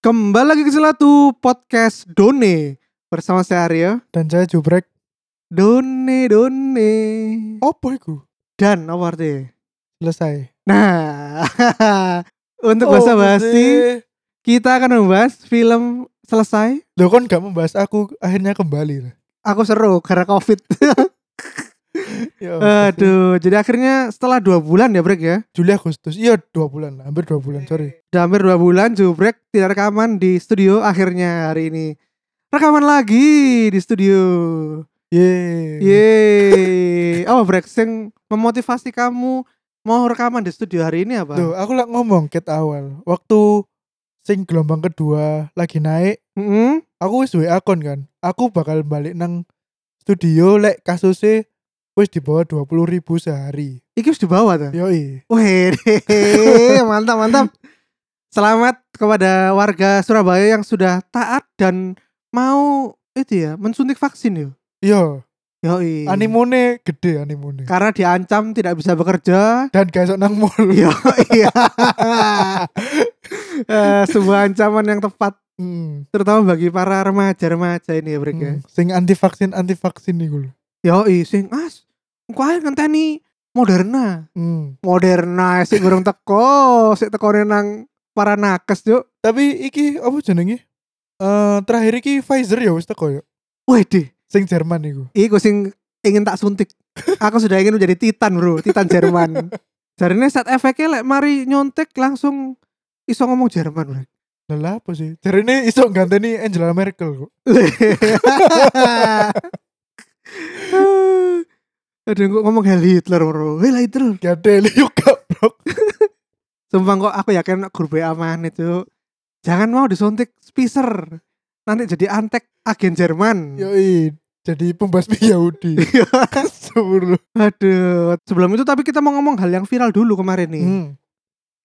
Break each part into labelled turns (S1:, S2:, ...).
S1: Kembali lagi ke Selatu Podcast Done Bersama saya Aryo
S2: dan saya jubrek
S1: Done, Done
S2: opo iku
S1: Dan apa artinya?
S2: selesai Oh,
S1: Nah Untuk bahasa basi Kita akan membahas film selesai
S2: lo kon gak membahas aku akhirnya kembali lah
S1: Aku seru karena covid
S2: Ya, Agustus.
S1: Aduh Jadi akhirnya setelah dua bulan ya Brek ya
S2: Juli Agustus iya dua bulan lah, hampir dua bulan sorry
S1: Udah hampir dua bulan Jubrek tidak rekaman di studio Akhirnya hari ini Rekaman lagi di studio
S2: ye
S1: Yeay Apa Brek? Yang memotivasi kamu Mau rekaman di studio hari ini apa?
S2: Tuh, aku lah ngomong ket awal waktu sing gelombang kedua lagi naik
S1: Mm-mm.
S2: aku wis duwe akun kan aku bakal balik nang studio lek kasusnya wis di bawah dua ribu sehari
S1: Iki harus dibawa
S2: Iya.
S1: tuh.
S2: yoi
S1: Wih, mantap mantap. Selamat kepada warga Surabaya yang sudah taat dan mau itu ya mensuntik vaksin yo.
S2: yo
S1: Yoi.
S2: animone Iya, gede animone
S1: Karena diancam tidak bisa bekerja.
S2: dan gak esok nang mall
S1: Yo, iya. Eh, sebuah ancaman yang tepat
S2: Hmm.
S1: terutama bagi para remaja-remaja ini ya, Brik ya.
S2: Hmm, Sing anti vaksin anti vaksin nih gue.
S1: Yoi, sing as. Engko ae ngenteni Moderna.
S2: Hmm.
S1: Moderna sih gorong teko, sik tekone nang para nakes, Cuk.
S2: Tapi iki apa jenenge? Eh terakhir iki Pfizer ya wis teko ya.
S1: Waduh,
S2: Sing Jerman iku.
S1: Iku sing ingin tak suntik. Aku sudah ingin menjadi titan, Bro, titan Jerman. Jarine saat efeknya lek mari nyontek langsung iso ngomong Jerman, Bro.
S2: Lah lah apa sih? Jarine iso ganteni Angela Merkel kok.
S1: Aduh, kok ngomong Hell Hitler, Bro. Hell Hitler.
S2: Gade yo goblok.
S1: Sumpah kok aku yakin nek grup WA mana itu. Jangan mau disuntik Spicer. Nanti jadi antek agen Jerman.
S2: Hmm. Yoi, jadi pembasmi Yahudi. Sebelum.
S1: Aduh, sebelum itu tapi kita mau ngomong hal yang viral dulu kemarin nih.
S2: Hmm.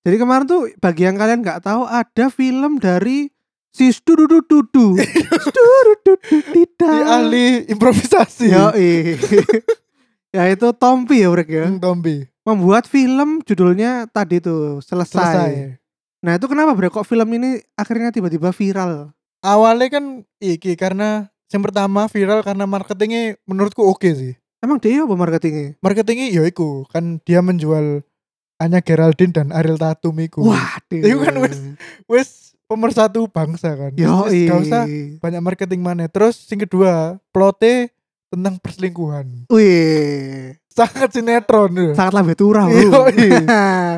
S1: Jadi kemarin tuh bagi yang kalian nggak tahu ada film dari si Stududududu. Stududududu.
S2: Di ahli improvisasi.
S1: Yoi. ya itu Tompi ya Brek ya.
S2: Hmm, Tompi.
S1: Membuat film judulnya tadi tuh selesai.
S2: Selesai.
S1: Nah itu kenapa Brek kok film ini akhirnya tiba-tiba viral?
S2: Awalnya kan iki karena yang pertama viral karena marketingnya menurutku oke sih.
S1: Emang dia ya, apa marketingnya?
S2: marketingnya ya iku kan dia menjual Anya Geraldine dan Ariel Tatum iku
S1: Wah,
S2: Itu kan wes. wes pemersatu bangsa kan
S1: Yoi.
S2: Wes gak usah banyak marketing mana terus sing kedua plotnya tentang perselingkuhan
S1: Wih,
S2: sangat sinetron ya.
S1: sangatlah betura bro.
S2: Yoi.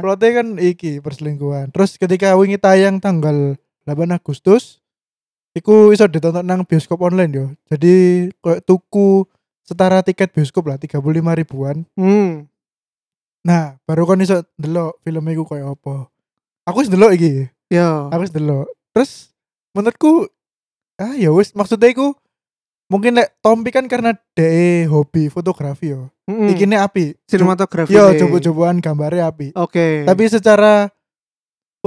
S2: plotnya kan iki perselingkuhan terus ketika wingi tayang tanggal 8 Agustus iku iso ditonton nang bioskop online yo jadi kayak tuku setara tiket bioskop lah 35 ribuan
S1: hmm.
S2: Nah, baru kon iso ndelok film iku koyo apa. Aku wis ndelok iki.
S1: Yo.
S2: Aku wis ndelok. Terus menurutku ah ya wis maksudnya iku mungkin lek Tompi kan karena de hobi fotografi yo.
S1: Mm-mm.
S2: Iki ne
S1: Hmm.
S2: api.
S1: sinematografi.
S2: Yo coba-cobaan gambarnya api.
S1: Oke.
S2: Tapi secara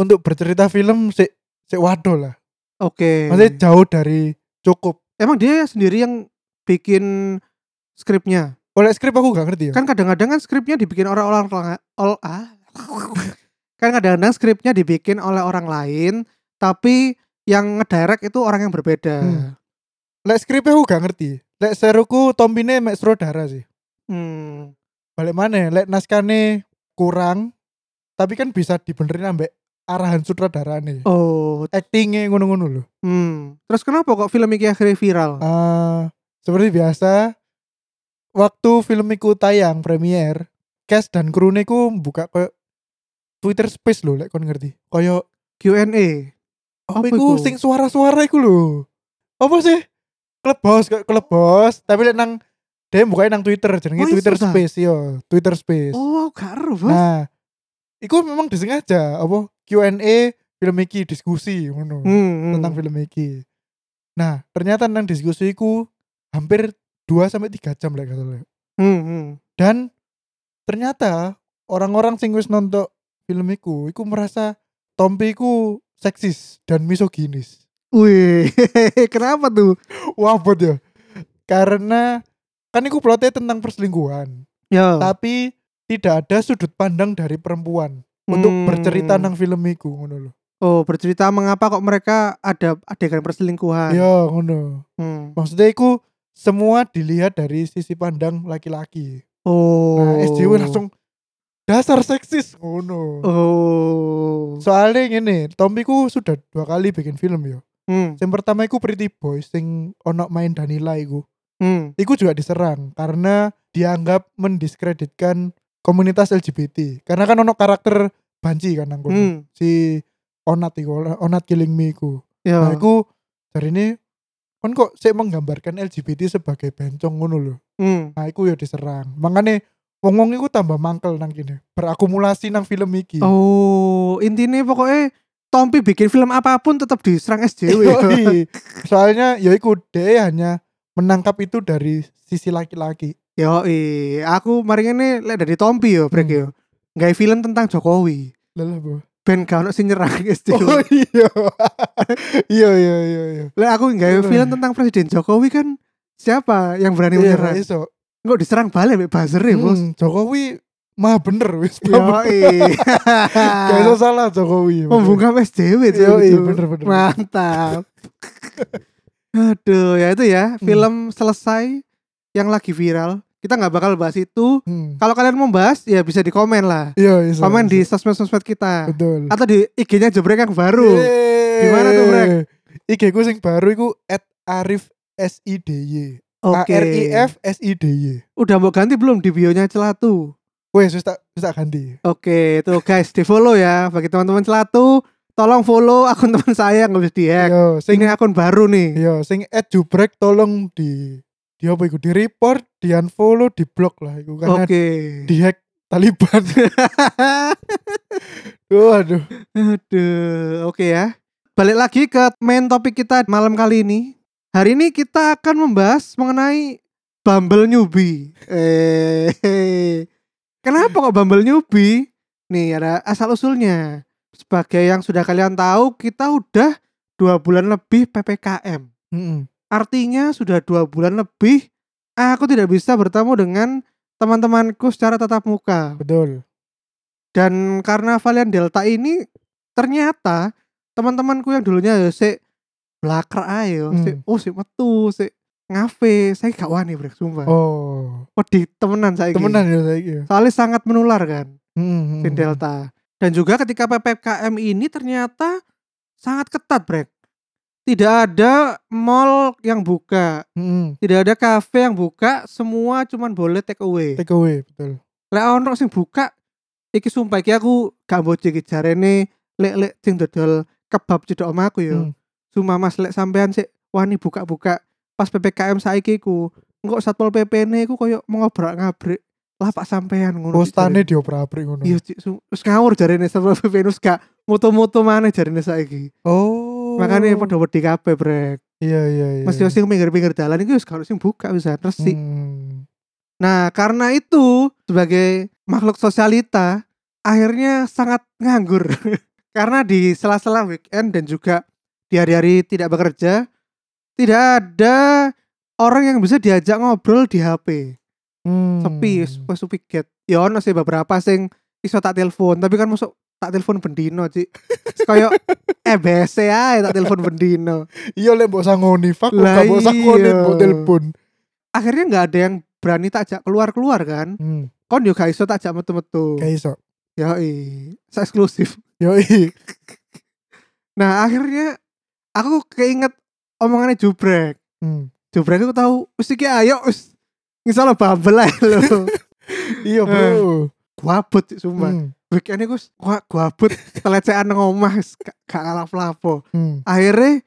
S2: untuk bercerita film sik sik waduh lah.
S1: Oke.
S2: Maksudnya jauh dari cukup.
S1: Emang dia sendiri yang bikin skripnya.
S2: Oleh skrip aku gak ngerti ya.
S1: Kan kadang-kadang kan skripnya dibikin oleh orang orang- ol ah. kan kadang-kadang skripnya dibikin oleh orang lain, tapi yang ngedirect itu orang yang berbeda.
S2: Hmm. Lek skripnya aku gak ngerti. Lek seruku Tompine mek Srodara sih.
S1: Hmm.
S2: balik mana ya? lek naskahne kurang tapi kan bisa dibenerin ambek arahan sutradara nih
S1: Oh.
S2: actingnya ngono-ngono loh
S1: Hmm. Terus kenapa kok film ini akhirnya viral?
S2: Ah, seperti biasa waktu film iku tayang premier Cash dan krune ku buka koyo Twitter Space loh lek kon ngerti koyo
S1: Q&A.
S2: apa
S1: Apa
S2: iku
S1: iku?
S2: sing suara-suara iku lho apa sih klub bos koyo klub bos tapi lek nang dia bukain nang Twitter
S1: Oh,
S2: jenenge
S1: iso
S2: Twitter
S1: ta?
S2: Space yo Twitter Space
S1: Oh, gak ero, Bos.
S2: Nah, iku memang disengaja apa Q&A film iki diskusi ngono
S1: Hmm, hmm.
S2: tentang film iki. Nah, ternyata nang diskusi iku hampir 2 sampai 3 jam lah kata lo.
S1: Hmm, hmm.
S2: Dan ternyata orang-orang sing wis nonton film iku iku merasa Tompi iku seksis dan misoginis.
S1: Wih, kenapa tuh?
S2: Wah, buat ya. Karena kan iku plotnya tentang perselingkuhan,
S1: Ya.
S2: tapi tidak ada sudut pandang dari perempuan untuk bercerita nang film iku ngono lho.
S1: hmm. Oh, bercerita mengapa kok mereka ada adegan perselingkuhan.
S2: Iya, ngono.
S1: Hmm.
S2: Maksudnya iku semua dilihat dari sisi pandang laki-laki.
S1: Oh.
S2: Nah, SJW langsung dasar seksis ngono.
S1: Oh.
S2: Soalnya ngene, Tommy ku sudah dua kali bikin film yo.
S1: Hmm.
S2: Yang pertama iku Pretty Boys sing ono main Danila iku.
S1: Hmm.
S2: Iku juga diserang karena dianggap mendiskreditkan komunitas LGBT. Karena kan ono karakter banci kan nang kono.
S1: Hmm.
S2: Si Onat iku, Onat Killing Me iku.
S1: Ya.
S2: Nah, iku dari ini kan kok saya menggambarkan LGBT sebagai bencong ngono lho.
S1: Hmm.
S2: Nah, iku ya diserang. Makanya wong-wong iku tambah mangkel nang kene. Berakumulasi nang film iki.
S1: Oh, intinya pokoknya Tompi bikin film apapun tetap diserang SJW.
S2: Yoi. Soalnya ya iku dhewe hanya menangkap itu dari sisi laki-laki.
S1: Yo, aku mari ini lek dari Tompi yo,
S2: Hmm.
S1: Brek yo. Nggak film tentang Jokowi.
S2: Lelah, Bu.
S1: Ben gak ono sing nyerang SJW.
S2: Oh iya. iya iya iya iya.
S1: Lah aku nggak
S2: Bener.
S1: film tentang Presiden Jokowi kan siapa yang berani
S2: Iya,
S1: menyerang?
S2: ra iso.
S1: Nggak diserang balik mbek buzzer ya, Bos. ah.
S2: Hmm, Jokowi mah bener wis. mah
S1: Yoi.
S2: bener. Gak iso salah Jokowi.
S1: Membungkam SJW cuy,
S2: Yoi,
S1: gitu.
S2: bener, bener.
S1: Mantap. Aduh, ya itu ya,
S2: Hmm.
S1: film selesai yang lagi viral. Kita nggak bakal bahas itu.
S2: Hmm.
S1: Kalau kalian mau bahas ya bisa di komen lah.
S2: Iya, iso.
S1: Komen
S2: iso.
S1: di sosmed-sosmed kita
S2: Betul. Iya,
S1: atau di IG-nya Jebrek yang Nah, baru.
S2: Yeay.
S1: Gimana tuh, Brek?
S2: IG ku sing baru iku @arif_sidy. A
S1: Oke.
S2: R I F S I D Y.
S1: Udah mau ganti belum di bio-nya Celatu?
S2: Wes wis tak wis tak ganti.
S1: Oke, tuh guys, di follow ya bagi teman-teman Celatu. Tolong follow akun teman saya nggak bisa dihack.
S2: Yo, Iya. sing
S1: Ini
S2: Iya,
S1: akun baru nih.
S2: yo sing @jubrek tolong di di apa iku di report, di unfollow, di block lah iku karena
S1: Oke.
S2: di hack Taliban. Duh, aduh.
S1: Aduh, oke ya. Balik lagi ke main topik kita malam kali ini. Hari ini kita akan membahas mengenai Bumble newbie. Eh, kenapa kok Bumble newbie? Nih ada asal usulnya. Sebagai yang sudah kalian tahu, kita udah dua bulan lebih ppkm.
S2: Mm-mm.
S1: Artinya sudah dua bulan lebih eh, aku tidak bisa bertemu dengan teman-temanku secara tatap muka.
S2: Betul.
S1: Dan karena varian Delta ini ternyata teman-temanku yang dulunya ya sik blaker ayo,
S2: Hmm.
S1: sik oh sik metu, sik ngafe, saya gak wani brek sumpah.
S2: Oh.
S1: Wedi temenan saya
S2: Temenan Hmm. ya saiki. ya.
S1: Soalnya sangat menular kan
S2: Mm-mm.
S1: si Delta. Dan juga ketika PPKM ini ternyata sangat ketat brek. Tidak ada mall yang buka,
S2: Mm-mm.
S1: tidak ada kafe yang buka, semua cuman boleh take away.
S2: Take away, betul.
S1: lek ono sing buka iki sumpah iki aku gak mbojek iki jarene lek lek sing dodol kebab cedok omahku yo.
S2: Hmm.
S1: Sumpah Mas lek sampean sik wani buka-buka pas PPKM saiki ku engko Satpol PP-ne iku koyo ngobrak-ngabrik lapak sampean ngono. Cik,
S2: Postane
S1: jarene.
S2: diobrak-abrik ngono.
S1: Iya, Cik, su- wis ngawur jarene Satpol PP wis gak mutu-mutu maneh jarene saiki.
S2: Oh.
S1: Makanya padha wedi kabeh, Brek.
S2: Iya, iya, iya.
S1: Mas yo sing pinggir-pinggir dalan iku wis gak ono sing buka wis resi.
S2: Hmm.
S1: Nah, karena itu sebagai makhluk sosialita akhirnya sangat nganggur. karena di sela-sela weekend dan juga di hari-hari tidak bekerja, tidak ada orang yang bisa diajak ngobrol di HP.
S2: Hmm.
S1: Sepi, wis sepi get. Ya ono sih beberapa sing iso tak telepon, tapi kan masuk tak telepon bendino, Cik. Kayak EBC ae tak telepon bendino.
S2: Iya lek mbok sangoni, fuck
S1: Lah
S2: gak mbok sangoni
S1: iya.
S2: mbok telepon.
S1: Akhirnya nggak ada yang berani tak ajak keluar-keluar kan.
S2: Hmm,
S1: Kon yo gak iso tak ajak metu-metu.
S2: gak iso.
S1: Ya, saya eksklusif.
S2: Yoi.
S1: Nah, akhirnya aku keinget omongannya Jubrek.
S2: Hmm.
S1: Jubrek aku tahu, wis iki ayo wis ngisal babel ae lho.
S2: Iya,
S1: Hmm.
S2: Bro.
S1: gua abut Cik, sumpah.
S2: Hmm.
S1: Weekend iku wis gua gua abut telecehan nang omah wis gak gak lapo-lapo.
S2: Hmm.
S1: Akhirnya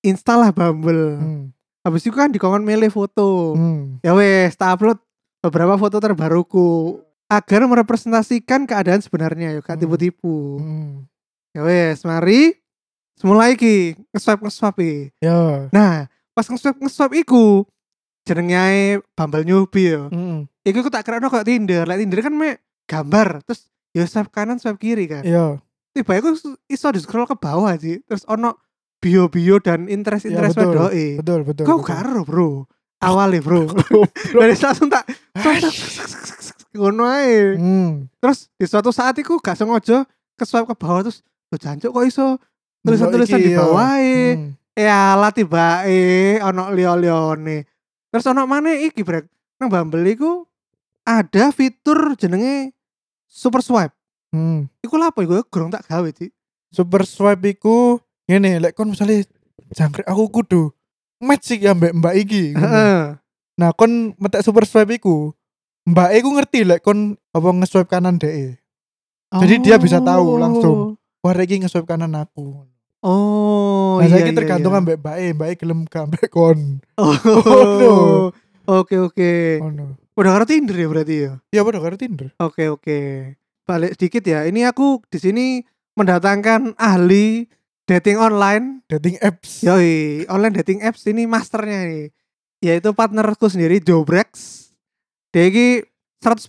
S1: install lah Bumble.
S2: Hmm.
S1: Habis itu kan dikongkon milih foto.
S2: Hmm.
S1: Ya wes, tak upload beberapa foto terbaruku agar merepresentasikan keadaan sebenarnya ya, gak
S2: Hmm.
S1: tipu-tipu.
S2: Hmm.
S1: Ya wes, mari semula iki nge-swipe nge-swipe iki.
S2: Ya.
S1: Nah, pas nge-swipe nge-swipe iku jenenge ae Bumble newbie ya.
S2: Hmm.
S1: Iku aku tak kira kok Tinder. Lah Tinder kan me gambar terus ya swipe kanan swipe kiri kan.
S2: Ya.
S1: Tiba aku iso di scroll ke bawah sih. Terus ono bio-bio dan interest-interest
S2: Ya, betul.
S1: doi.
S2: Betul, betul.
S1: Kau
S2: betul.
S1: karo, Bro. Awalnya, Bro. Dari langsung tak ngono ae.
S2: Hmm.
S1: Terus di suatu saat iku gak sengaja ke swipe ke bawah terus Loh jancuk kok iso tulisan-tulisan
S2: Delok
S1: di
S2: iki, yo.
S1: bawah e?
S2: Hmm.
S1: ya lah tiba ono lio lione terus ono mana iki brek nang Bumble iku ada fitur jenenge super swipe
S2: Hmm.
S1: iku lha apa iku gerong tak gawe sih
S2: Super swipe iku ngene lek kon misale jangkrik aku kudu match iki ambek mbak iki. ngono.
S1: heeh
S2: Nah, kon metek super swipe iku, mbak iku ngerti lek kon apa nge-swipe kanan dhek. Jadi dia bisa tahu langsung. Wah, rek iki nge-swipe kanan aku.
S1: oh
S2: nah,
S1: iya,
S2: saiki
S1: iya,
S2: tergantung
S1: iya.
S2: ambek mbak e, mbak e gelem gak ambek kon.
S1: oh,
S2: no.
S1: oke oke
S2: Ngono.
S1: udah karo Tinder ya berarti ya
S2: Ya padha karo Tinder.
S1: Oke oke. Balik sedikit ya. Ini aku di sini mendatangkan ahli dating online.
S2: Dating apps.
S1: Ya. Yoi, online dating apps ini masternya nih. Yaitu partnerku sendiri Jobrex. Dia ini 100%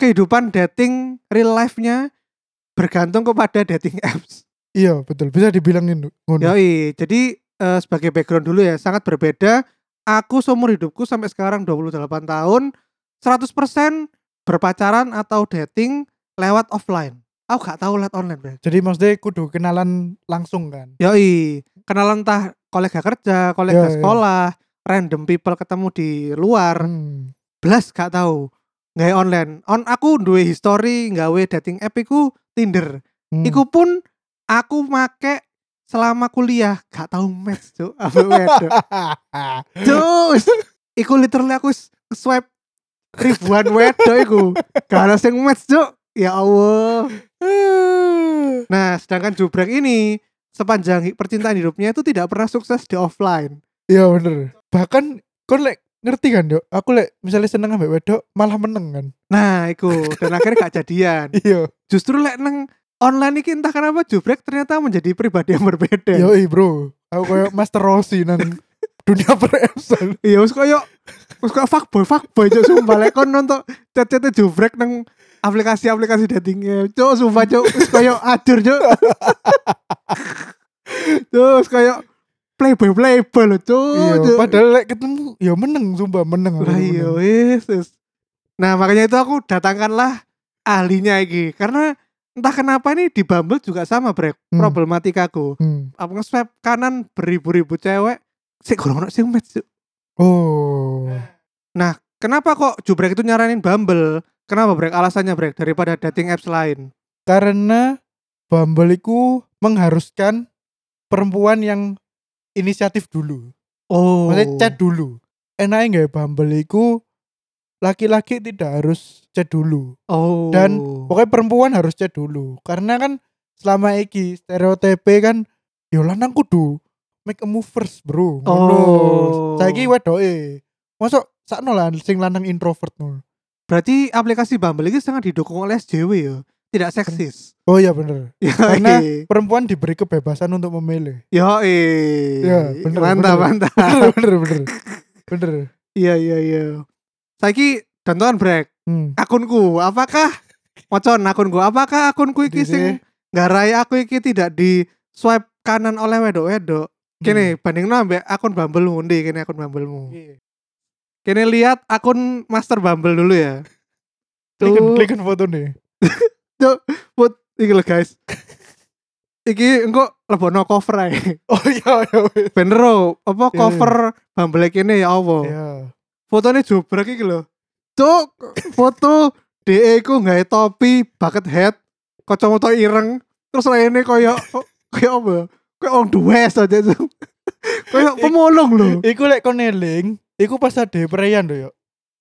S1: kehidupan dating real life-nya bergantung kepada dating apps.
S2: Iya, betul. Bisa dibilangin ngono.
S1: Yoi, jadi eh, sebagai background dulu ya, sangat berbeda. Aku seumur hidupku sampai sekarang 28 tahun, 100% berpacaran atau dating lewat offline. Aku gak tahu lewat online, Bro.
S2: Jadi maksudnya kudu kenalan langsung kan.
S1: Yoi, kenalan entah kolega kerja, kolega
S2: Ya, ya.
S1: sekolah, random people ketemu di luar,
S2: Hmm.
S1: belas gak tahu. Nggak online. On aku duwe history nggawe dating app iku Tinder.
S2: Hmm.
S1: Iku pun aku make selama kuliah gak tahu match cuk. Apa wedok. Cuk, wis. iku literally aku wis swipe ribuan wedok iku. Gak ada sing match, Cuk. Ya Allah. Nah, sedangkan Jubrek ini sepanjang hi- percintaan hidupnya itu tidak pernah sukses di offline.
S2: Iya bener. Bahkan kon lek ngerti kan dok? Aku lek misalnya seneng ambek wedok malah meneng kan.
S1: Nah, iku dan akhirnya gak jadian.
S2: Iya.
S1: Justru lek nang online iki entah kenapa Jubrek ternyata menjadi pribadi yang berbeda.
S2: Yo bro. Aku kayak Master Rossi nang dunia perepsan.
S1: Iya, wis koyo wis koyo fuckboy fuckboy cok sumpah lek kon nonton chat-chat jubrek nang aplikasi-aplikasi dating app. Cok sumpah cok wis koyo ajur cok. Cok wis koyo playboy playboy lho cok.
S2: Iya.
S1: cok.
S2: Padahal lek ketemu, yo meneng sumpah meneng. aku
S1: Lah
S2: meneng.
S1: iya wis wis. Nah, makanya itu aku datangkanlah ahlinya iki karena entah kenapa nih di Bumble juga sama brek
S2: Hmm.
S1: problematikaku.
S2: Hmm.
S1: Apa nge-swipe kanan beribu-ribu cewek sik kurang ono sing match Cok.
S2: Oh.
S1: Kenapa kok Jubrek itu nyaranin Bumble? Kenapa Brek? Alasannya Brek daripada dating apps lain.
S2: Karena Bumble iku mengharuskan perempuan yang inisiatif dulu.
S1: Oh.
S2: Maksudnya chat dulu. Enaknya nggak Bumble iku laki-laki tidak harus chat dulu.
S1: Oh.
S2: Dan- Pokoknya perempuan harus chat dulu karena kan selama iki stereotipe kan yo lanang kudu make a move first, bro.
S1: Oh.
S2: Saiki wedoke. Mosok sakno lah sing lanang introvert no.
S1: berarti aplikasi Bumble ini sangat didukung oleh SJW ya. Tidak seksis.
S2: Oh iya bener.
S1: Ya,
S2: Karena-
S1: eh.
S2: Perempuan diberi kebebasan untuk memilih.
S1: ya, eh.
S2: Ya, bener,
S1: mantap,
S2: bener.
S1: mantap.
S2: bener bener bener. Bener.
S1: Iya, iya, iya. Saiki contohan Brek,
S2: Hmm.
S1: akunku apakah mocon akunku apakah akunku iki
S2: Dide.
S1: sing nggarai aku iki tidak di swipe kanan oleh wedok-wedok. Kene bandingno ambek akun Bumble ndi kene akun Bumblemu.
S2: Hmm.
S1: Kini lihat akun Master Bumble dulu ya.
S2: Liken-
S1: Tuh,
S2: liken foto nih.
S1: iki lho guys. iki engko lebono cover ae.
S2: Oh iya iya. wes.
S1: Bener oh, apa
S2: Iya.
S1: cover Bumble kene ya apa?
S2: Iya.
S1: Fotone jobrek iki lho. Cuk, foto DE ku nggawe topi, bucket hat, kacamata ireng, terus raine koyo koyo apa? ya? Koyo orang duwes aja tuh.
S2: Iya.
S1: koyo pemulung lho.
S2: Iku lek kon eling, iku pas ada perayaan do yo.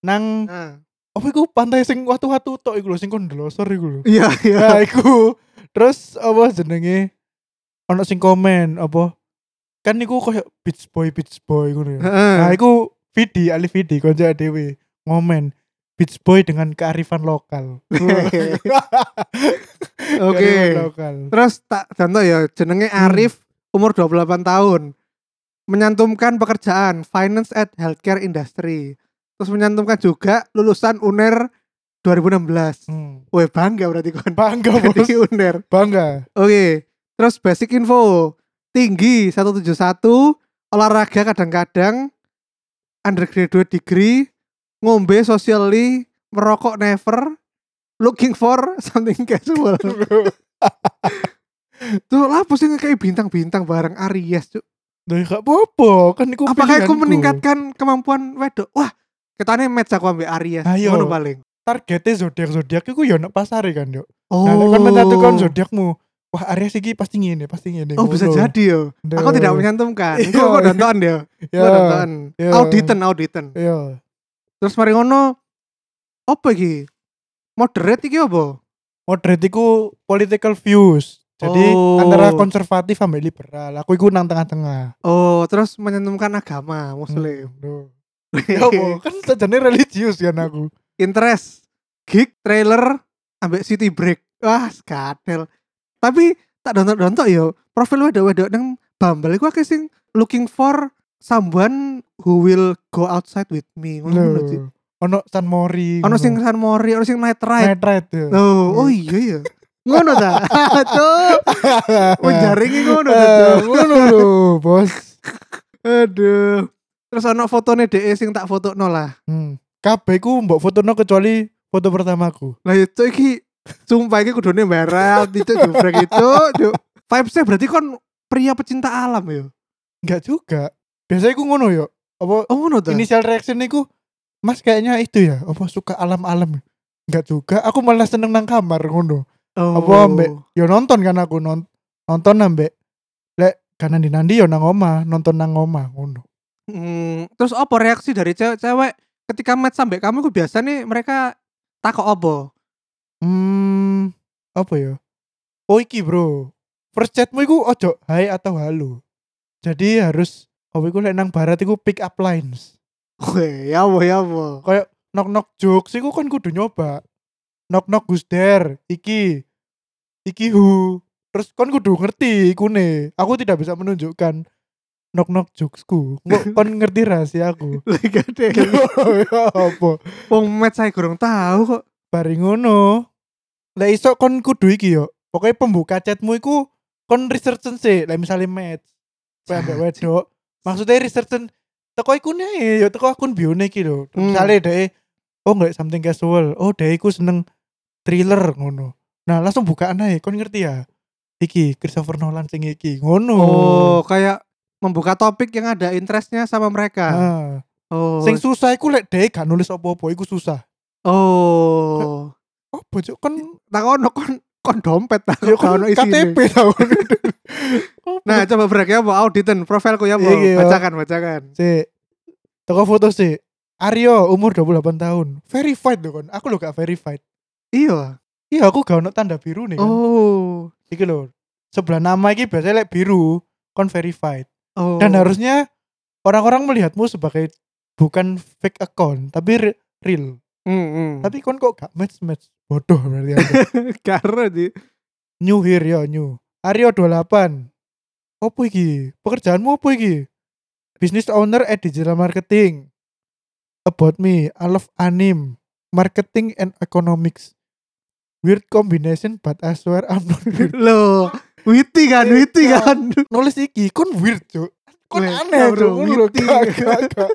S2: Nang
S1: Nah,
S2: apa iku pantai sing watu-watu tok iku lho sing kon delosor iku lho.
S1: iya iya.
S2: Nah, iku. Terus apa jenenge? Ono sing komen apa? Kan iku koyo beach boy beach boy ngono ya.
S1: Heeh.
S2: Nah, iku Vidi Alif Vidi konco dhewe ngomen beach boy dengan kearifan lokal. Kearifan lokal.
S1: Terus tak contoh ya jenenge Arif umur 28 tahun menyantumkan pekerjaan finance at healthcare industry. Terus menyantumkan juga lulusan UNER 2016.
S2: Hmm.
S1: Weh bangga berarti kan
S2: Bangga bos.
S1: di UNER.
S2: Bangga.
S1: Oke. Terus basic info. Tinggi 171, olahraga kadang-kadang, undergraduate degree, ngombe socially, merokok never, looking for something casual. Tuh lapo sih kayak bintang-bintang bareng Aries, Cuk.
S2: Duh, gak apa-apa, kan iku
S1: Apakah aku
S2: pilihanku.
S1: meningkatkan kemampuan wedok? Wah, ketane match aku ambek Aries.
S2: Ayo.
S1: Ngono paling.
S2: targetnya zodiak-zodiak iku ya nak pasar kan yo.
S1: Oh.
S2: Nah, kan menyatukan zodiakmu. Wah, Aries iki pasti ngene, pasti ngene.
S1: Oh, bisa
S2: ngono.
S1: jadi yo.
S2: Duh.
S1: Aku tidak menyantumkan.
S2: Iya.
S1: Kok kok nonton ya?
S2: Ya,
S1: Kok nonton.
S2: Iya.
S1: Auditen, auditen.
S2: Iya.
S1: Terus mari ngono apa iki? Moderate iki apa?
S2: Moderate iku political views. Jadi
S1: Oh.
S2: antara konservatif sama liberal. Aku iku nang tengah-tengah.
S1: Oh, terus menyantumkan agama, muslim.
S2: Hmm, duh. Ya apa? kan sajane religius kan aku.
S1: Interest, gig, trailer, ambek city break. Wah, skadel. Tapi tak dontok-dontok yo. Profil wedok-wedok nang Bumble iku akeh sing looking for someone who will go outside with me. Ngono lho, Ci.
S2: Loh. Ono San Mori.
S1: Ono sing San Mori, ono sing Night Ride.
S2: Night Ride. ya.
S1: Oh, oh iya ya. Ngono ta. Cuk.
S2: Ya.
S1: Menjaringi ngono ta,
S2: Eh,
S1: Cuk.
S2: Ngono lho, Bos.
S1: Aduh. Terus ana fotone dhek sing tak fotokno lah.
S2: Hmm. Kabeh ku mbok fotono kecuali foto pertamaku.
S1: Lah itu iki sumpah iki kudune merah, itu jubrek itu, cuk. Vibes-nya berarti kon pria pecinta alam ya.
S2: Enggak juga. Biasanya ku ngono yo. Apa
S1: Oh ngono ta?
S2: initial reaction niku Mas kayaknya itu ya. Apa suka alam-alam? ya?" Enggak juga. Aku malah seneng nang kamar ngono.
S1: oh.
S2: apa, Mbak? Yo nonton kan aku non- nonton ambek lek kanan dinandi yo nang oma, nonton nang oma ngono.
S1: Hmm, terus apa reaksi dari cewek-cewek ketika match sampai kamu ku biasa nih mereka takok apa?
S2: Hmm, apa ya? Oh iki bro, first chatmu iku ojo hai atau halo. Jadi harus apa iku lek nang barat iku pick up lines.
S1: Weh, ya apa ya apa.
S2: Kayak knock knock jokes iku kan kudu nyoba. Knock knock Gus Der, iki iki hu. Terus kon kudu ngerti ikune. Aku tidak bisa menunjukkan knock knock jokesku. Kok kon ngerti rahasia aku.
S1: Lagi gede.
S2: ya apa?
S1: iya, Wong match saya kurang tahu kok.
S2: Bari ngono. Lah iso kon kudu iki yo. Pokoknya pembuka chatmu iku kon research sih. Lah misalnya match. Kowe ambek wedok. Maksudnya research teko iku nih, yo teko akun bione iki lho.
S1: Hmm.
S2: Misalnya deh oh enggak something casual. Oh, deh iku seneng thriller ngono. Nah, langsung bukaan aja kon ngerti ya. Iki Christopher Nolan sing iki ngono.
S1: Oh, kayak membuka topik yang ada interestnya sama mereka.
S2: Nah,
S1: ah. Oh,
S2: sing susah iku lek deh gak nulis apa-apa iku susah.
S1: oh.
S2: Apa cuk kon
S1: tak ono kon kon dompet tak
S2: yo
S1: gak ono
S2: kon KTP
S1: isine.
S2: tau. Oh,
S1: Nah, coba break ya, Mbak auditen profilku ya, Mbak.
S2: Iya, iya.
S1: Bacakan, bacakan.
S2: Si, toko foto si. Aryo umur 28 tahun. Verified loh kon. Aku lo gak verified.
S1: Iya.
S2: Iya aku gak ono tanda biru nih kan.
S1: Oh.
S2: Iki loh. Sebelah nama iki biasanya lek biru kon verified.
S1: Oh.
S2: Dan harusnya orang-orang melihatmu sebagai bukan fake account tapi re- real.
S1: Mm
S2: Tapi kon kok gak match match. Bodoh berarti. Anda.
S1: Karena di
S2: new here ya new. Aryo 28. Opo iki? Pekerjaanmu opo iki? Business owner at digital marketing. About me, I love anime, marketing and economics. Weird combination but I swear I'm not weird.
S1: lo witty kan, witty
S2: Iya.
S1: kan.
S2: Nulis iki kon weird, Cuk. Kon
S1: Weh,
S2: aneh,
S1: bro,
S2: Cuk. Kon lho,
S1: witty.
S2: gak, gak, gak.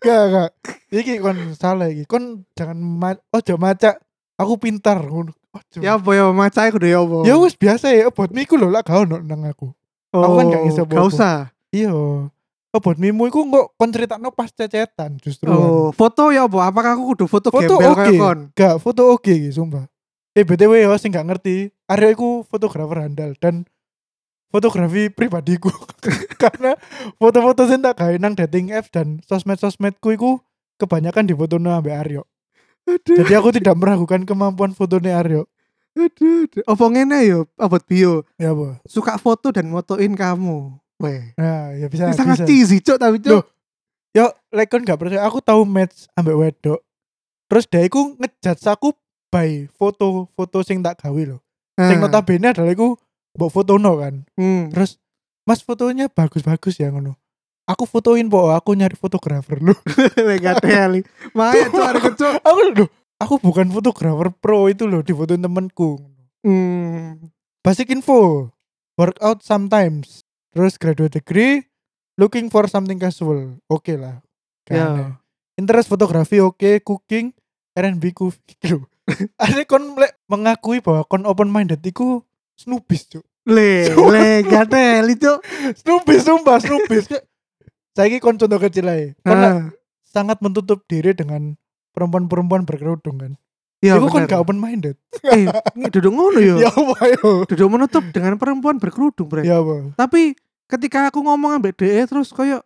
S2: Gak, gak. Iki kon salah iki. Kon jangan ma ojo maca aku pintar ngono. Ojo.
S1: Ya apa ya macai kudu ya apa.
S2: Ya wis biasa ya, about me iku lho lah gak ono nang aku. aku kan gak
S1: Oh,
S2: iso
S1: Gak
S2: bobo.
S1: usah.
S2: Iya. Obat mimu iku kok kon critakno pas cecetan justru.
S1: Oh, foto ya apa? Apakah aku kudu foto,
S2: kan? Foto
S1: gembel
S2: oke.
S1: kayak kon?
S2: Gak foto oke iki sumpah. Eh BTW ya sing gak ngerti, Aryo iku fotografer handal dan fotografi pribadiku. Karena foto-foto sing tak gawe nang dating app dan sosmed-sosmedku iku kebanyakan difotono ambek Aryo.
S1: Aduh,
S2: Jadi aku tidak meragukan kemampuan fotonya Aryo.
S1: aduh, aduh. Apa ngene ya, abot bio.
S2: Ya apa?
S1: Suka foto dan motoin kamu. Weh.
S2: Nah, ya bisa.
S1: Ini sangat
S2: bisa.
S1: cheesy, Cuk, tapi Cuk.
S2: Loh, Yo, lek kon gak percaya aku tahu match ambek wedok. Terus dia iku ngejudge aku by foto-foto sing tak gawe lho.
S1: Ah.
S2: Sing notabene adalah iku mbok fotono kan.
S1: Hmm.
S2: Terus Mas fotonya bagus-bagus ya ngono. Aku fotoin po, aku nyari fotografer lu.
S1: Lega teli. Maya cok arek cok.
S2: aku lho, aku bukan fotografer pro itu loh, difotoin temenku.
S1: Hmm.
S2: Basic info, workout sometimes. Terus graduate degree, looking for something casual. Oke lah. Gak
S1: Ya.
S2: aneh. Interest fotografi oke, cooking, R&B ku. Aduh. Akhirnya kon lek mengakui bahwa kon open minded iku snubis, Cuk.
S1: Le, le, gatel itu.
S2: Snoopy sumpah Snoopy saya ini kon contoh kecil aja kon lah
S1: Nah,
S2: sangat menutup diri dengan perempuan-perempuan berkerudung kan
S1: ya,
S2: itu kan
S1: bener. Iya.
S2: gak open minded
S1: Eh, ini duduk ngono yo.
S2: ya apa yo
S1: Duduk menutup dengan perempuan berkerudung, Bre.
S2: ya apa
S1: Tapi ketika aku ngomong ambek DE terus koyo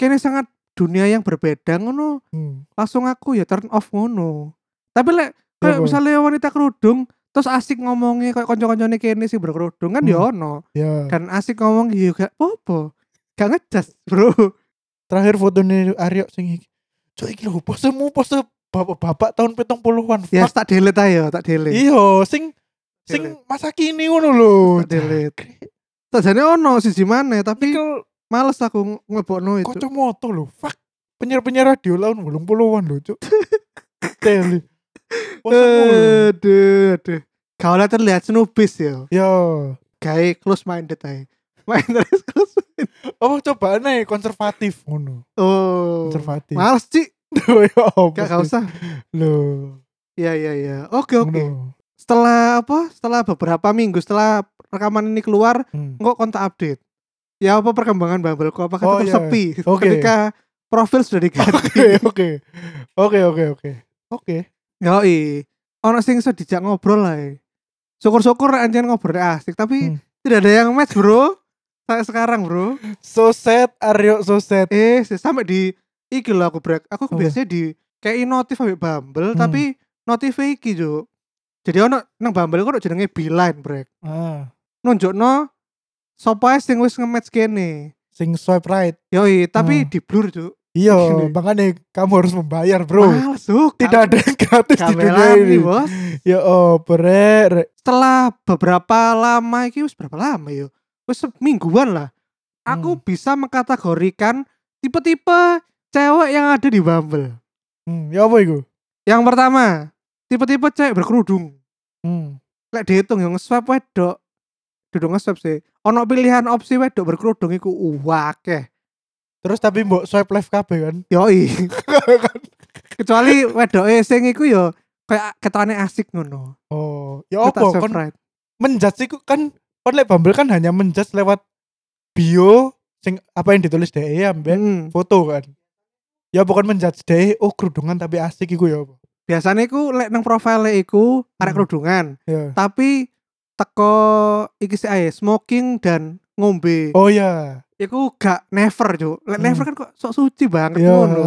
S1: kene sangat dunia yang berbeda ngono,
S2: Hmm.
S1: langsung aku ya turn off ngono. Tapi lek kayak
S2: Ya, apa?
S1: misalnya wanita kerudung terus asik ngomongnya kayak kanca-kancane kene sih berkerudung kan ya
S2: Hmm.
S1: ono.
S2: ya
S1: Kan asik ngomong ya gak popo. Gak ngejas, Bro.
S2: terakhir foto nih Aryo sing iki. Cuk iki lho posemu pose bapak-bapak tahun petang puluhan
S1: Ya
S2: Fuck.
S1: tak delete ayo, tak delete.
S2: Iya, sing
S1: Iya.
S2: sing masa kini ngono lho.
S1: Tak delete. Sajane ono siji maneh Iya, tapi
S2: Nikel
S1: males aku ng- nglebokno itu.
S2: kocomoto lho. Fuck. Penyiar-penyiar radio lawan 80-an lho, Cuk. Teli. Posemu
S1: Eh.
S2: lho.
S1: Aduh, aduh. Kau lah terlihat snubis ya.
S2: Ya,
S1: Kayak close minded aja. Main terus close.
S2: oh coba nih konservatif ngono.
S1: Oh.
S2: Konservatif.
S1: Males sih.
S2: Duh, ya apa
S1: Gak, gak
S2: sih?
S1: usah.
S2: Lho.
S1: Iya, iya, iya. Oke, oke.
S2: ngono.
S1: Setelah apa? Setelah beberapa minggu setelah rekaman ini keluar,
S2: Hmm.
S1: nggak kontak update. Ya apa perkembangan Bumbleku? Apakah
S2: Oh,
S1: tetap
S2: iya.
S1: sepi?
S2: Oke.
S1: Ketika profil sudah diganti.
S2: Oke, oke. Oke, oke, oke. Oke.
S1: Yoi. Ono sing iso dijak ngobrol lah. eh. Syukur-syukur anjir ngobrol asik, tapi
S2: Hmm.
S1: tidak ada yang match, Bro. Sampai sekarang, Bro.
S2: So sad Aryo so sad.
S1: Eh, sih, sampai di iki lho aku break. Aku
S2: Apa?
S1: biasanya di kayak notif sampai Bumble,
S2: Hmm.
S1: tapi notif iki juk. Jadi ono nang Bumble kok jenenge Beeline break.
S2: Ah,
S1: Nunjukno sapa ae sing wis nge-match kene.
S2: sing swipe right.
S1: Yoi, tapi
S2: Hmm.
S1: di blur juk.
S2: Iya,
S1: Gini.
S2: makanya kamu harus membayar, Bro.
S1: Males, Juk.
S2: Tidak ada yang gratis di dunia
S1: Kamelan
S2: ini.
S1: nih, Bos.
S2: Ya opo rek, rek.
S1: Setelah beberapa lama iki wis berapa lama yo? Wis mingguan lah.
S2: Hmm.
S1: Aku bisa mengkategorikan tipe-tipe cewek yang ada di Bumble.
S2: Hmm, ya apa iku?
S1: Yang pertama, tipe-tipe cewek berkerudung.
S2: Hmm.
S1: lek dihitung yang nge-swap wedok duduk nge-swap sih ono pilihan opsi wedok berkerudung iku wakeh
S2: Terus tapi mbok swipe left kabeh kan.
S1: yoi kecuali wedok sing iku yo kayak ketane asik ngono
S2: oh, ya
S1: Ketak
S2: opo
S1: swipe
S2: kon
S1: right.
S2: menjudge iku kan kon lek Bumble kan hanya menjudge lewat bio sing apa yang ditulis DE ya mbek
S1: Mm.
S2: foto kan. Ya bukan menjudge DE, oh kerudungan tapi asik iku ya apa.
S1: biasanya iku lek nang profile iku arek
S2: Hmm.
S1: kerudungan
S2: Ya.
S1: tapi teko iki sih ae smoking dan ngombe
S2: Oh ya.
S1: iku gak never cuk lek
S2: Hmm.
S1: never kan kok sok suci banget
S2: Ya.
S1: ngono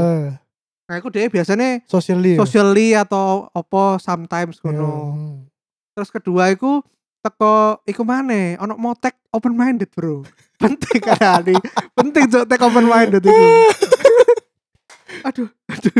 S1: nah iku dhewe biasanya
S2: Socially. ya.
S1: socially atau opo sometimes
S2: Ya,
S1: ngono
S2: hmm.
S1: Terus kedua iku teko iku maneh ono motek open minded, Bro. Penting kan ini. Penting cok tek open minded itu. aduh, aduh.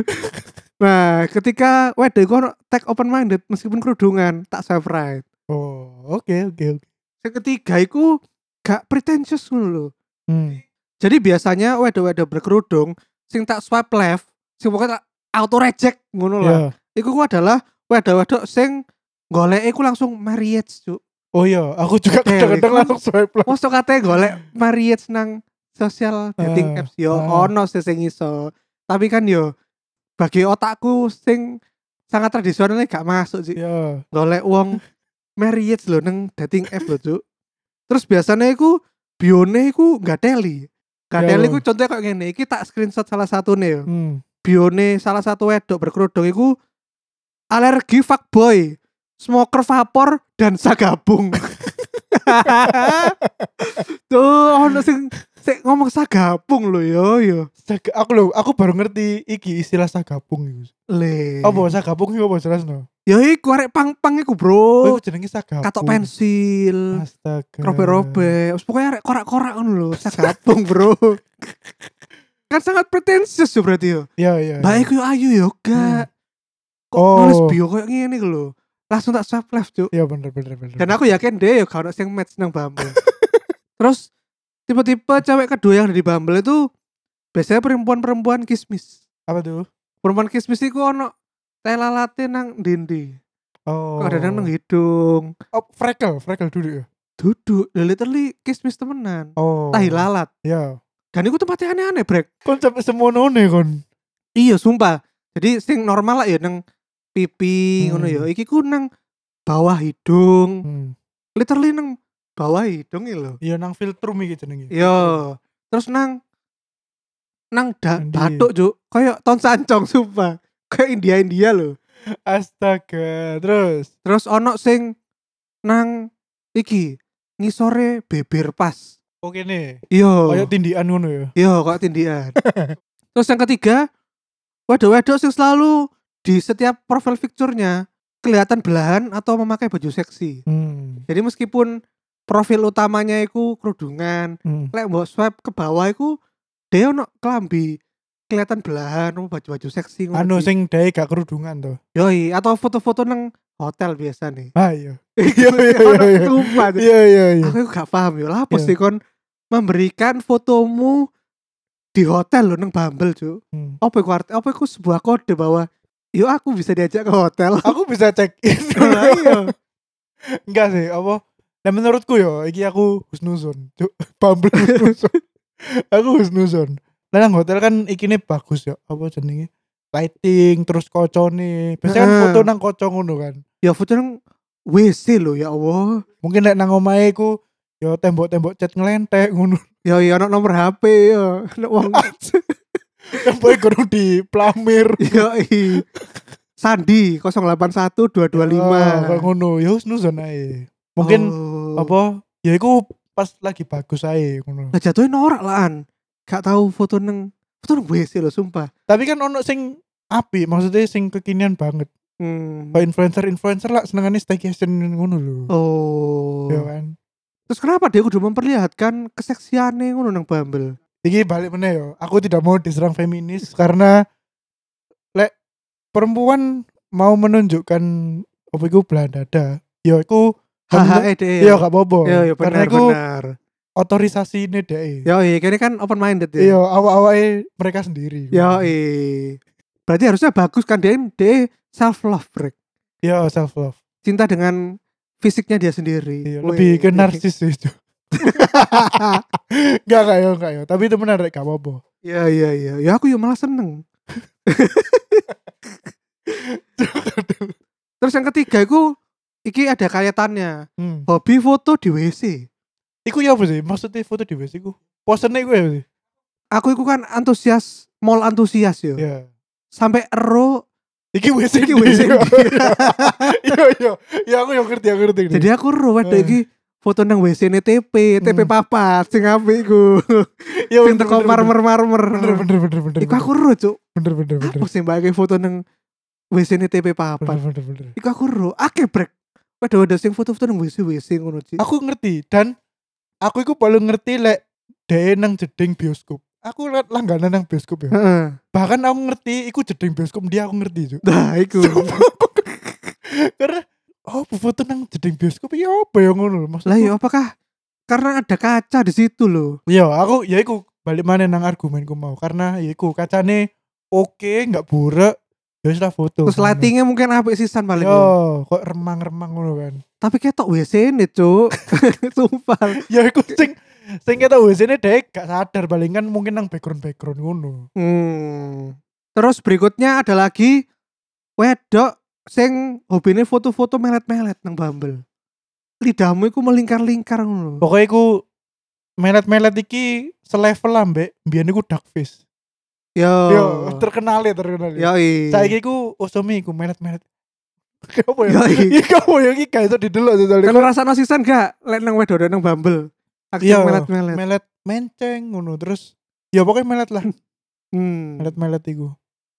S1: Nah, ketika wedok iku ono tek open minded meskipun kerudungan, tak swipe right.
S2: Oh, oke oke oke.
S1: Yang ketiga iku gak pretentious ngono lho.
S2: Hmm.
S1: Jadi biasanya wedok-wedok berkerudung sing tak swipe left, sing pokoke tak auto reject ngono lah.
S2: Ya.
S1: Iku ku adalah wedok-wedok sing golek iku langsung marriage, Cuk.
S2: Oh iya, aku juga
S1: Oke,
S2: kadang-kadang
S1: kon-
S2: langsung swipe left.
S1: Mosok katanya golek marriage nang sosial dating
S2: Ah,
S1: apps yo
S2: ah.
S1: ono sih sing iso. Tapi kan yo bagi otakku sing sangat tradisionalnya gak masuk sih.
S2: Ya.
S1: Golek wong marriage lho nang dating app lho, Cuk. Terus biasanya iku bione iku gak teli. Gak
S2: Ya.
S1: teli iku contohnya kok ngene iki tak screenshot salah satune yo.
S2: Hmm.
S1: Bione salah satu wedok berkerudung iku alergi fuckboy, smoker vapor dan sagabung. Tuh ono sing sing ngomong sagabung lho yo yo.
S2: Saga- aku lho, aku baru ngerti iki istilah sagapung iku.
S1: Le.
S2: Apa sagapung iku apa jelasno?
S1: Ya iku arek pang-pang iku,
S2: Oh,
S1: Bro.
S2: iku jenenge sagapung.
S1: Katok pensil,
S2: Astaga. Hmm.
S1: robek-robek. Wis pokoke arek korak-korak ngono lho, sagabung, Bro. kan sangat pretensius yo berarti yo.
S2: Iya, iya.
S1: Mbak iku yo ayu yo gak. Kok
S2: Oh.
S1: nulis bio koyo ngene iku lho. Langsung tak swipe left, Cuk.
S2: Iya bener bener bener.
S1: Dan aku yakin deh ya kalau yang match nang Bumble. Terus tipe-tipe cewek kedua yang ada di Bumble itu biasanya perempuan-perempuan kismis.
S2: apa tuh?
S1: Perempuan kismis itu ono tela latte nang dindi.
S2: Oh.
S1: Kadang-kadang nang hidung.
S2: oh, freckle, freckle dulu ya.
S1: Duduk, ya literally kismis temenan.
S2: Oh.
S1: Tahi lalat.
S2: Iya.
S1: Dan itu tempatnya aneh-aneh, Brek.
S2: Kon sampe semonone kon.
S1: Iya, sumpah. Jadi sing normal lah ya nang pipi
S2: Hmm.
S1: ngono ya. Iki ku nang bawah hidung.
S2: Hmm.
S1: Literally nang bawah hidung iki lho.
S2: Iya nang filtrum iki jenenge.
S1: Yo, terus nang nang da
S2: Nang ndi?
S1: batuk juk, kayak ton sancong sumpah. Kayak India-India lho.
S2: Astaga. Terus
S1: Terus ono sing nang iki ngisore bibir pas. Iya.
S2: oke nih.
S1: Yo.
S2: Kayak tindian ngono ya.
S1: Yo, Iya, kok tindian. Terus yang ketiga, waduh-waduh sing selalu di setiap profil picture-nya kelihatan belahan atau memakai baju seksi.
S2: Hmm.
S1: Jadi meskipun profil utamanya itu kerudungan,
S2: hmm.
S1: lek mbok swipe ke bawah iku dia ono kelambi kelihatan belahan ono baju-baju seksi ngono
S2: Anu
S1: iki.
S2: sing dae gak kerudungan tuh.
S1: yoi atau foto-foto nang hotel biasa nih
S2: Ah iya. Iya iya iya, iya.
S1: Sumpah,
S2: Iya iya iya.
S1: aku iku gak paham yo lah
S2: Iya.
S1: pasti kon memberikan fotomu di hotel lo nang Bumble cu
S2: Hmm.
S1: apa iku arti- apa iku sebuah kode bahwa yo aku bisa diajak ke hotel
S2: Aku bisa cek
S1: Lah, iya
S2: Enggak sih, apa? Nah menurutku yo, iki aku husnuzon. Cuk, Bumble husnuzon. aku husnuzon. Lah nang hotel kan ikine bagus ya, apa jenenge? Lighting terus kocone. Biasanya kan
S1: Heeh.
S2: foto nang koco ngono kan.
S1: ya foto nang WC lo ya Allah
S2: Mungkin nek nang omahe ku yo tembok-tembok cat ngelentek ngono.
S1: yo yo Ya, iya, ono nomor HP yo ono wong
S2: Tembok kudu di plamir.
S1: Yoi. iya. Sandi 081
S2: Oh, Ah, Kayak
S1: 225.
S2: ngono, yo husnuzon ae. Mungkin
S1: Oh.
S2: apa? Ya iku pas lagi bagus ae ngono.
S1: Lah jatuhin norak laan. Gak tahu foto neng foto neng WC lo sumpah.
S2: Tapi kan ono sing api, maksudnya sing kekinian banget.
S1: Hmm.
S2: Kalau influencer-influencer lah senengannya staycation ngono lho.
S1: Oh.
S2: Ya kan.
S1: Terus kenapa dia kudu memperlihatkan keseksiannya ngono nang Bumble?
S2: Iki balik meneh yo. Aku tidak mau diserang feminis karena lek perempuan mau menunjukkan apa iku belahan dada, yo iku
S1: Hahaha deh.
S2: yo Iya, gak apa-apa.
S1: Yo yo Iya, benar
S2: karena iku
S1: benar.
S2: otorisasi ini deh.
S1: Yo kini kan open minded ya.
S2: Yo awak-awak mereka sendiri.
S1: Yo Berarti harusnya bagus kan dia dia self love break.
S2: Yo self love.
S1: Cinta dengan fisiknya dia sendiri. Wih.
S2: Yo, Iya, lebih ke narsis sih itu. Enggak enggak yo enggak yo. Tapi itu menarik gak apa-apa.
S1: Ya ya ya, ya aku ya malah seneng. Terus yang ketiga itu iki ada kaitannya
S2: Hmm.
S1: hobi foto di WC.
S2: Iku ya apa sih? Maksudnya foto di WC iku. Posenya iku ya apa sih?
S1: Aku itu kan antusias, mall antusias yo.
S2: Iya.
S1: Sampai ero
S2: Iki WC
S1: iki
S2: iki
S1: WC.
S2: Iya iya. Ya aku yang ngerti, aku ngerti.
S1: Jadi aku ero wedok
S2: Eh.
S1: iki foto nang WC ne TP, TP
S2: Hmm.
S1: papat sing apik iku.
S2: ya
S1: Sing teko marmer-marmer.
S2: Bener bener bener bener.
S1: Iku aku ero, Cuk.
S2: bener bener bener.
S1: Apa sih mbake foto nang WC ne TP
S2: Bener
S1: papat?
S2: bener bener.
S1: Iku aku ero, akeh brek. Wedok-wedok sing foto-foto nang WC WC ngono, Cik.
S2: Aku ngerti dan aku iku paling ngerti lek dhewe nang jeding bioskop. Aku liat langganan nang bioskop ya.
S1: Heeh.
S2: Bahkan aku ngerti iku jeding bioskop dia aku ngerti Cuk.
S1: Nah, iku.
S2: Karena oh bu foto nang jeding bioskop ya apa ya ngono lho. maksudku.
S1: Lah ya apakah karena ada kaca di situ loh.
S2: Iya, aku ya iku balik mana nang argumenku mau karena ya iku kacane oke nggak burek ya wis lah foto.
S1: Terus lightingnya mungkin apik sisan paling. ya.
S2: Yo, kok remang-remang ngono kan.
S1: Tapi ketok WC ini, Cuk. Sumpah.
S2: Ya iku sing sing kita wesene dek gak sadar paling kan mungkin nang background-background ngono.
S1: Hmm. Terus berikutnya ada lagi wedok sing hobine foto-foto melet-melet nang Bumble. Lidahmu iku melingkar-lingkar ngono. lho.
S2: Pokoknya iku melet-melet iki selevel lah mbek biyen iku dark face.
S1: Yo.
S2: Yo,
S1: Oh.
S2: terkenal ya terkenal. Ya.
S1: Yoi.
S2: Saiki iku osomi iku melet-melet. Kenapa ya?
S1: Yoi.
S2: Iki kamu yang iki gak iso didelok sih, soalnya.
S1: Kan rasane sisan gak lek nang wedok nang Bumble. Aku
S2: Iya.
S1: melet-melet.
S2: melet menceng ngono terus ya pokoknya melet lah
S1: Hmm.
S2: melet melet iku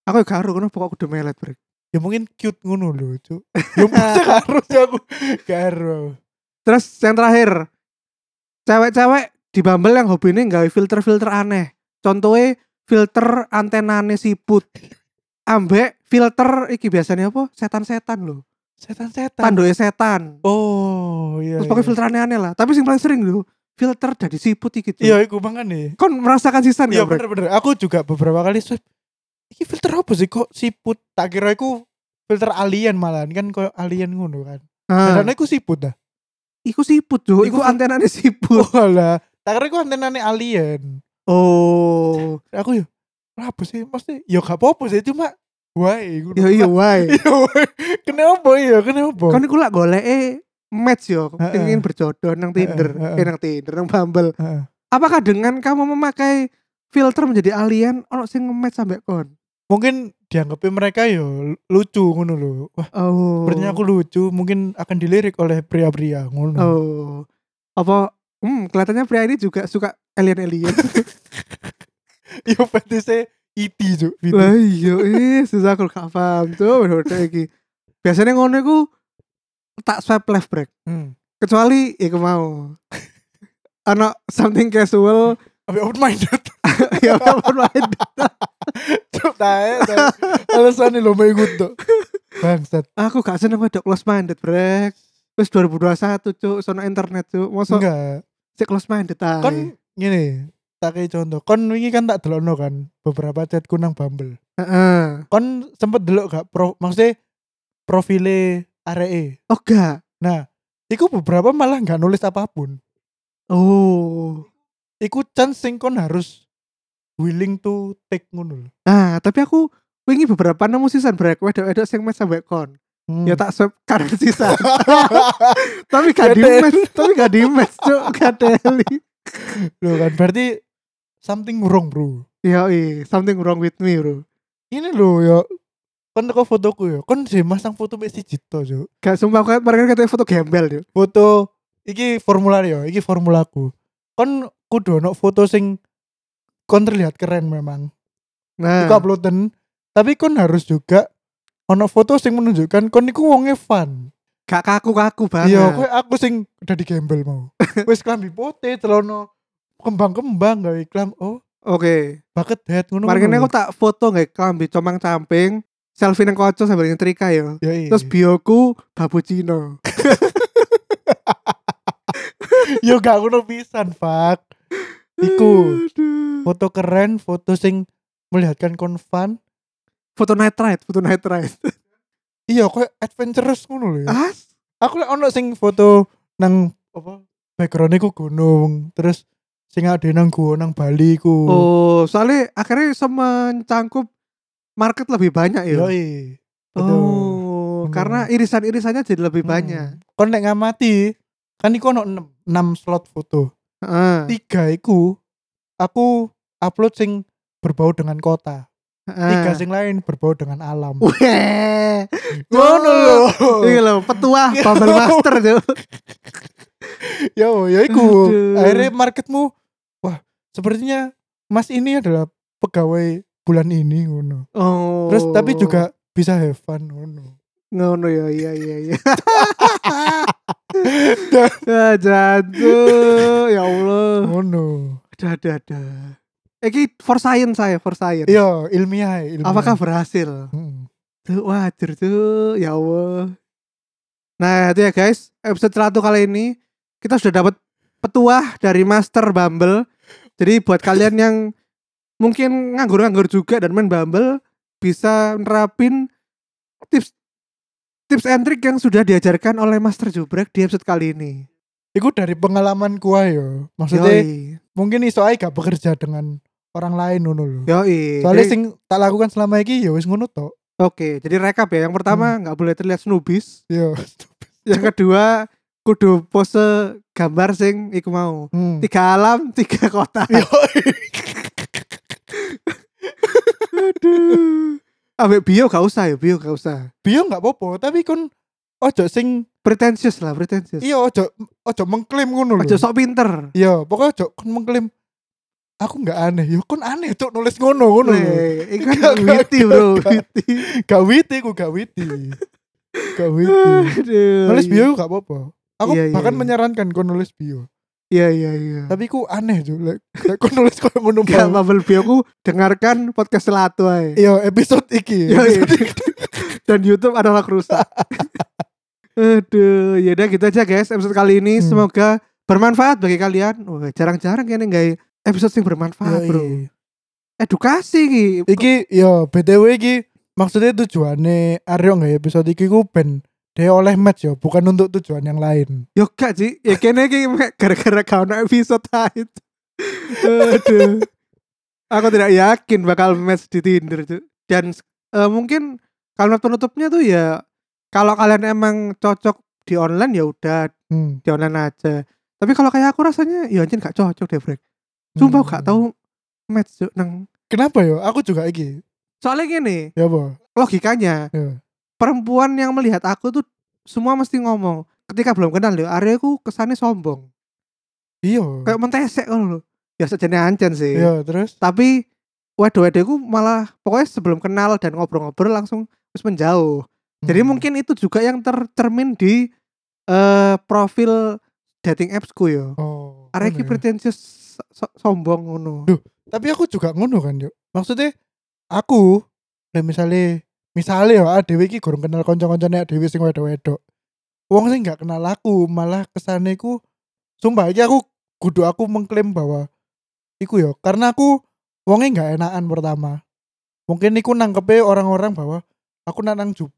S1: Aku gak ero kenapa kok kudu melet, Bre.
S2: ya mungkin cute ngono lho cuk ya mesti harus aku karo
S1: Terus yang terakhir Cewek-cewek di Bumble yang hobinya nggawe filter-filter aneh Contohnya filter antenane siput Ambek filter iki biasanya apa? Setan-setan loh
S2: setan-setan
S1: Tandoe setan
S2: oh iya
S1: Terus pakai
S2: iya.
S1: filter aneh-aneh lah Tapi yang paling sering loh Filter dari siput iki
S2: iya
S1: gitu
S2: iku makane
S1: Kon merasakan sisan
S2: iya
S1: ya Brek?
S2: bener-bener aku juga beberapa kali swipe iki filter apa sih kok siput tak kira iku filter alien malahan kan koyo alien ngono kan
S1: Ah,
S2: karena iku siput dah
S1: Iku siput tuh
S2: Iku
S1: Iku
S2: fil-
S1: antenane siput
S2: oh lah tak kira iku antenane alien
S1: Oh
S2: aku ya apa sih mesti ya gak apa-apa sih cuma wae ngono.
S1: Iya Kan
S2: Ya,
S1: iya wae
S2: Iya, woy. kenapa ya kenapa
S1: Kan iku lak goleke match yo,
S2: Heeh.
S1: ingin berjodoh nang Tinder,
S2: Heeh, heeh.
S1: eh nang Tinder, nang Bumble.
S2: Heeh.
S1: Apakah dengan kamu memakai filter menjadi alien ono sing nge-match sampe kon?
S2: mungkin dianggapnya mereka yo lucu ngono lho. Wah,
S1: Oh.
S2: sepertinya aku lucu, mungkin akan dilirik oleh pria-pria ngono.
S1: Oh. Apa hmm kelihatannya pria ini juga suka alien-alien.
S2: Yo Ya, fetishnya iti Cuk, iti.
S1: lah iya eh susah aku gak paham tuh bener-bener iki. Biasanya ngono iku tak swipe left break
S2: Hmm.
S1: kecuali iku mau. Ono something casual
S2: Ambil open minded.
S1: ya apa
S2: Cuk, tae. tae. Alasan ini lho mau ikut tuh. Bangsat.
S1: Aku gak seneng wedok close minded, Brek. Wis 2021, Cuk, sono internet, Cuk. Mosok
S2: Enggak. Kan
S1: sik close minded ae.
S2: Kon ngene, tak kayak contoh. Kon wingi kan tak delokno kan beberapa chatku nang Bumble.
S1: heeh.
S2: Kon sempet delok gak pro, maksudnya profile aree.
S1: Oh, gak.
S2: Nah, iku beberapa malah nggak nulis apapun.
S1: Oh.
S2: iku chance sing kon harus willing to take ngono lho.
S1: Nah, tapi aku wingi beberapa nemu sisan Brek, wedok-wedok sing match sampe kon.
S2: Hmm.
S1: Ya tak swipe kanan sisan. tapi gak di
S2: Gatel.
S1: match, tapi gak di match, Cuk. Kadeli.
S2: Lho kan berarti something wrong, Bro.
S1: Yo, something wrong with me, Bro.
S2: Ini lho ya kon teko fotoku ya. Kon sih masang foto mek siji to, Cuk.
S1: Gak sumpah aku mereka katanya foto gembel, Cuk.
S2: Foto iki formular ya, iki formulaku. Kon kudu ono foto sing kon terlihat keren memang.
S1: Nah.
S2: Iku uploaden, tapi kon harus juga ono foto sing menunjukkan kon iku wonge fun.
S1: Gak kaku-kaku banget.
S2: Iya, kowe aku sing udah digembel mau. Wis klambi putih, celono kembang-kembang gawe iklam. Oh,
S1: Oke.
S2: bucket head ngono.
S1: Mari ini kan aku tak foto nggak kelambi comang camping, selfie nang kocok sambil nyetrika yo.
S2: ya,
S1: Terus bioku babu Cino.
S2: yo gak ngono pisan, Pak. Iku
S1: Aduh.
S2: foto keren, foto sing melihatkan kon fun.
S1: foto night ride, foto night ride.
S2: Iya, kowe adventurous ngono lho. ya.
S1: As?
S2: Aku lek ono sing foto nang apa? Background iku gunung, terus sing ade nang gua nang Bali iku.
S1: Oh, soalnya akhirnya bisa mencangkup market lebih banyak ya.
S2: Yoi. betul.
S1: Oh,
S2: Bener.
S1: karena irisan-irisannya jadi lebih
S2: Hmm.
S1: banyak.
S2: Kon nek ngamati, kan iku ono 6 slot foto.
S1: Heeh.
S2: tiga iku aku upload sing berbau dengan kota
S1: heeh.
S2: tiga sing lain berbau dengan alam
S1: Weh.
S2: ngono lho
S1: Iki lho, petuah Bumble Master tuh.
S2: yo yo iku
S1: Aduh.
S2: akhirnya marketmu wah sepertinya mas ini adalah pegawai bulan ini ngono
S1: Oh.
S2: terus tapi juga bisa have fun ngono
S1: ngono ya iya iya iya ya jatuh ya Allah
S2: ngono
S1: ada ada ada Iki for science saya for science
S2: yo Iya, ilmiah ilmiah
S1: apakah berhasil
S2: Hmm.
S1: tuh wajar tuh ya Allah nah itu ya guys episode 100 kali ini kita sudah dapat petuah dari Master Bumble jadi buat kalian yang mungkin nganggur-nganggur juga dan main Bumble bisa nerapin tips tips and trick yang sudah diajarkan oleh Master Jubrek di episode kali ini.
S2: iku dari pengalaman kuah yo maksudnya
S1: Yoi.
S2: mungkin iso ae gak bekerja dengan orang lain ngono lho
S1: Iya, Yoi.
S2: soalnya
S1: Jadi-
S2: sing tak lakukan selama ini ya wis ngono tok
S1: Oke, jadi rekap ya. Yang pertama
S2: Hmm.
S1: nggak boleh terlihat snubis.
S2: yo
S1: Yang kedua kudu pose gambar sing iku mau.
S2: hmm.
S1: Tiga alam, tiga kota.
S2: Yo.
S1: Aduh. Ambek bio gak usah ya, bio gak usah.
S2: Bio nggak apa-apa, tapi kon ojo sing
S1: Pretentious lah, pretentious.
S2: iya ojo ojo mengklaim ngono lho.
S1: Aja sok pinter.
S2: Iya, pokoknya ojo kon mengklaim aku nggak aneh. Yo kon aneh tuh nulis ngono ngono. lho.
S1: Weh, Ini kan
S2: Gak, gak,
S1: witty
S2: gak,
S1: bro,
S2: gak.
S1: witty.
S2: Gak witi ku gak witi. gak witi.
S1: Aduh.
S2: Nulis bio gak apa-apa. Aku
S1: Iya, iya,
S2: bahkan
S1: iya.
S2: menyarankan kon nulis bio.
S1: Iya iya iya.
S2: Tapi ku aneh tuh. Lek lek kon nulis koyo ngono
S1: Gak
S2: mau.
S1: Bubble Bio ku dengarkan podcast Selatu ae.
S2: Iya, episode iki.
S1: Yo, iya.
S2: Episode iki.
S1: Dan YouTube adalah rusak. Aduh, yaudah gitu aja guys episode kali ini
S2: Hmm.
S1: semoga bermanfaat bagi kalian. Wah, jarang-jarang kene nggak episode yang bermanfaat,
S2: Yo,
S1: Bro.
S2: iya.
S1: Edukasi iki.
S2: Iki yo BTW iki maksudnya tujuane Aryo nggak ya episode iki ku ben dia oleh match yo, bukan untuk tujuan yang lain.
S1: Yo gak sih, ya kene iki mek gara-gara gak ono episode ae. Aduh. Aku tidak yakin bakal match di Tinder tuh. Dan eh, mungkin kalimat penutupnya tuh ya kalau kalian emang cocok di online ya udah
S2: Hmm.
S1: di online aja. Tapi kalau kayak aku rasanya ya anjir gak cocok deh Brek. Sumpah gak tahu match yuk nang
S2: Kenapa yo? Aku juga iki.
S1: Soalnya gini,
S2: Ya apa?
S1: logikanya
S2: Ya.
S1: perempuan yang melihat aku tuh semua mesti ngomong. Ketika belum kenal loh, Arya aku kesannya sombong.
S2: Iya.
S1: Kayak mentesek kan loh. Ya sejenis anjen sih.
S2: Iya, terus
S1: Tapi waduh-waduh aku malah pokoknya sebelum kenal dan ngobrol-ngobrol langsung terus menjauh. Jadi
S2: Hmm.
S1: mungkin itu juga yang tercermin di eh, profil dating appsku yo.
S2: Oh.
S1: Arek iki
S2: ngono ya.
S1: pretentious so- sombong ngono.
S2: Tapi aku juga ngono kan yo. Maksudnya aku lah misalnya misalnya yo adewe iki gorong kenal kanca-kancane adewe sing wedok-wedok. Wong sing gak kenal aku malah kesane ku sumpah iki aku kudu aku mengklaim bahwa iku yo karena aku wonge gak enakan pertama. Mungkin iku nangkepe orang-orang bahwa aku nak nang jub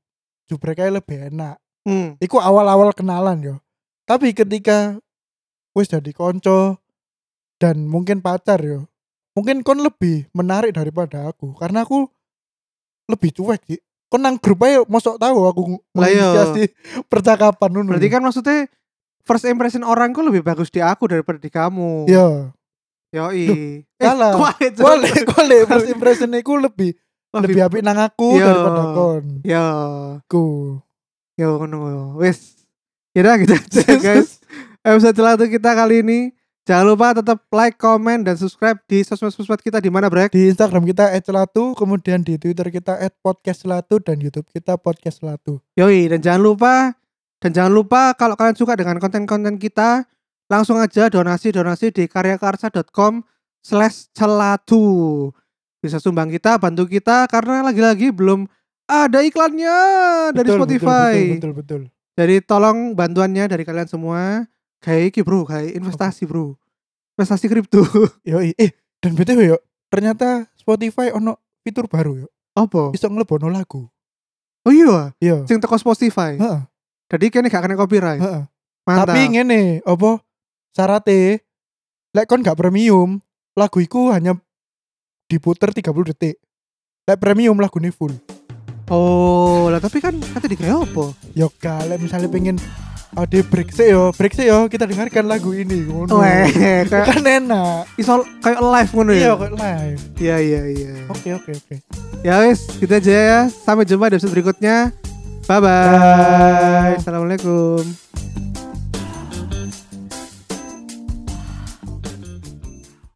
S2: jubrek ae lebih enak.
S1: Hmm.
S2: Iku awal-awal kenalan yo. Tapi ketika wis jadi konco dan mungkin pacar yo. Mungkin kon lebih menarik daripada aku karena aku lebih cuek sih. Kon nang grup ae mosok tahu aku
S1: Lah iya.
S2: menginisiasi percakapan ngono.
S1: Berarti kan maksudnya first impression orang kok lebih bagus di aku daripada di kamu.
S2: Iya.
S1: Yoi. Eh,
S2: Duh, salah.
S1: kuat itu.
S2: Kole kole first impression iku lebih
S1: Oh,
S2: lebih apik nang aku
S1: Iya.
S2: daripada kon.
S1: Yo,
S2: Ku.
S1: yo Ya, ngono yo. Wis. Ya udah gitu aja guys. Episode celatu kita kali ini. Jangan lupa tetap like, comment, dan subscribe di sosmed-sosmed kita di mana Brek?
S2: Di Instagram kita @celatu, kemudian di Twitter kita @podcastcelatu dan YouTube kita podcastcelatu.
S1: Yoi, dan jangan lupa dan jangan lupa kalau kalian suka dengan konten-konten kita langsung aja donasi-donasi di karyakarsa.com slash celatu bisa sumbang kita, bantu kita karena lagi-lagi belum ada iklannya dari
S2: Betul,
S1: Spotify
S2: Betul, betul, betul, betul.
S1: jadi tolong bantuannya dari kalian semua kayak iki bro, kayak investasi bro investasi kripto
S2: Yoi. eh dan btw yo, ternyata Spotify ono fitur baru yo.
S1: apa?
S2: Bisa ngelebono lagu.
S1: oh iya,
S2: Iya.
S1: sing teko Spotify
S2: Heeh,
S1: jadi kayaknya gak kena copyright
S2: heeh.
S1: mantap
S2: Tapi ngene, apa syaratnya lek kon gak premium, lagu iku hanya diputer 30 detik. Lek premium lagu full.
S1: oh lah tapi kan katanya digawe apa?
S2: Yo kalau misalnya pengen Oh di break sih yo, break sih yo, kita dengarkan lagu ini ngono.
S1: Weh, kayak
S2: Kan enak.
S1: iso kayak live ngono ya.
S2: Iya, kok live.
S1: Iya iya iya.
S2: Oke, oke, oke.
S1: Ya wis, gitu aja ya. Sampai jumpa di episode berikutnya. Bye bye.
S2: Dah.
S1: Assalamualaikum.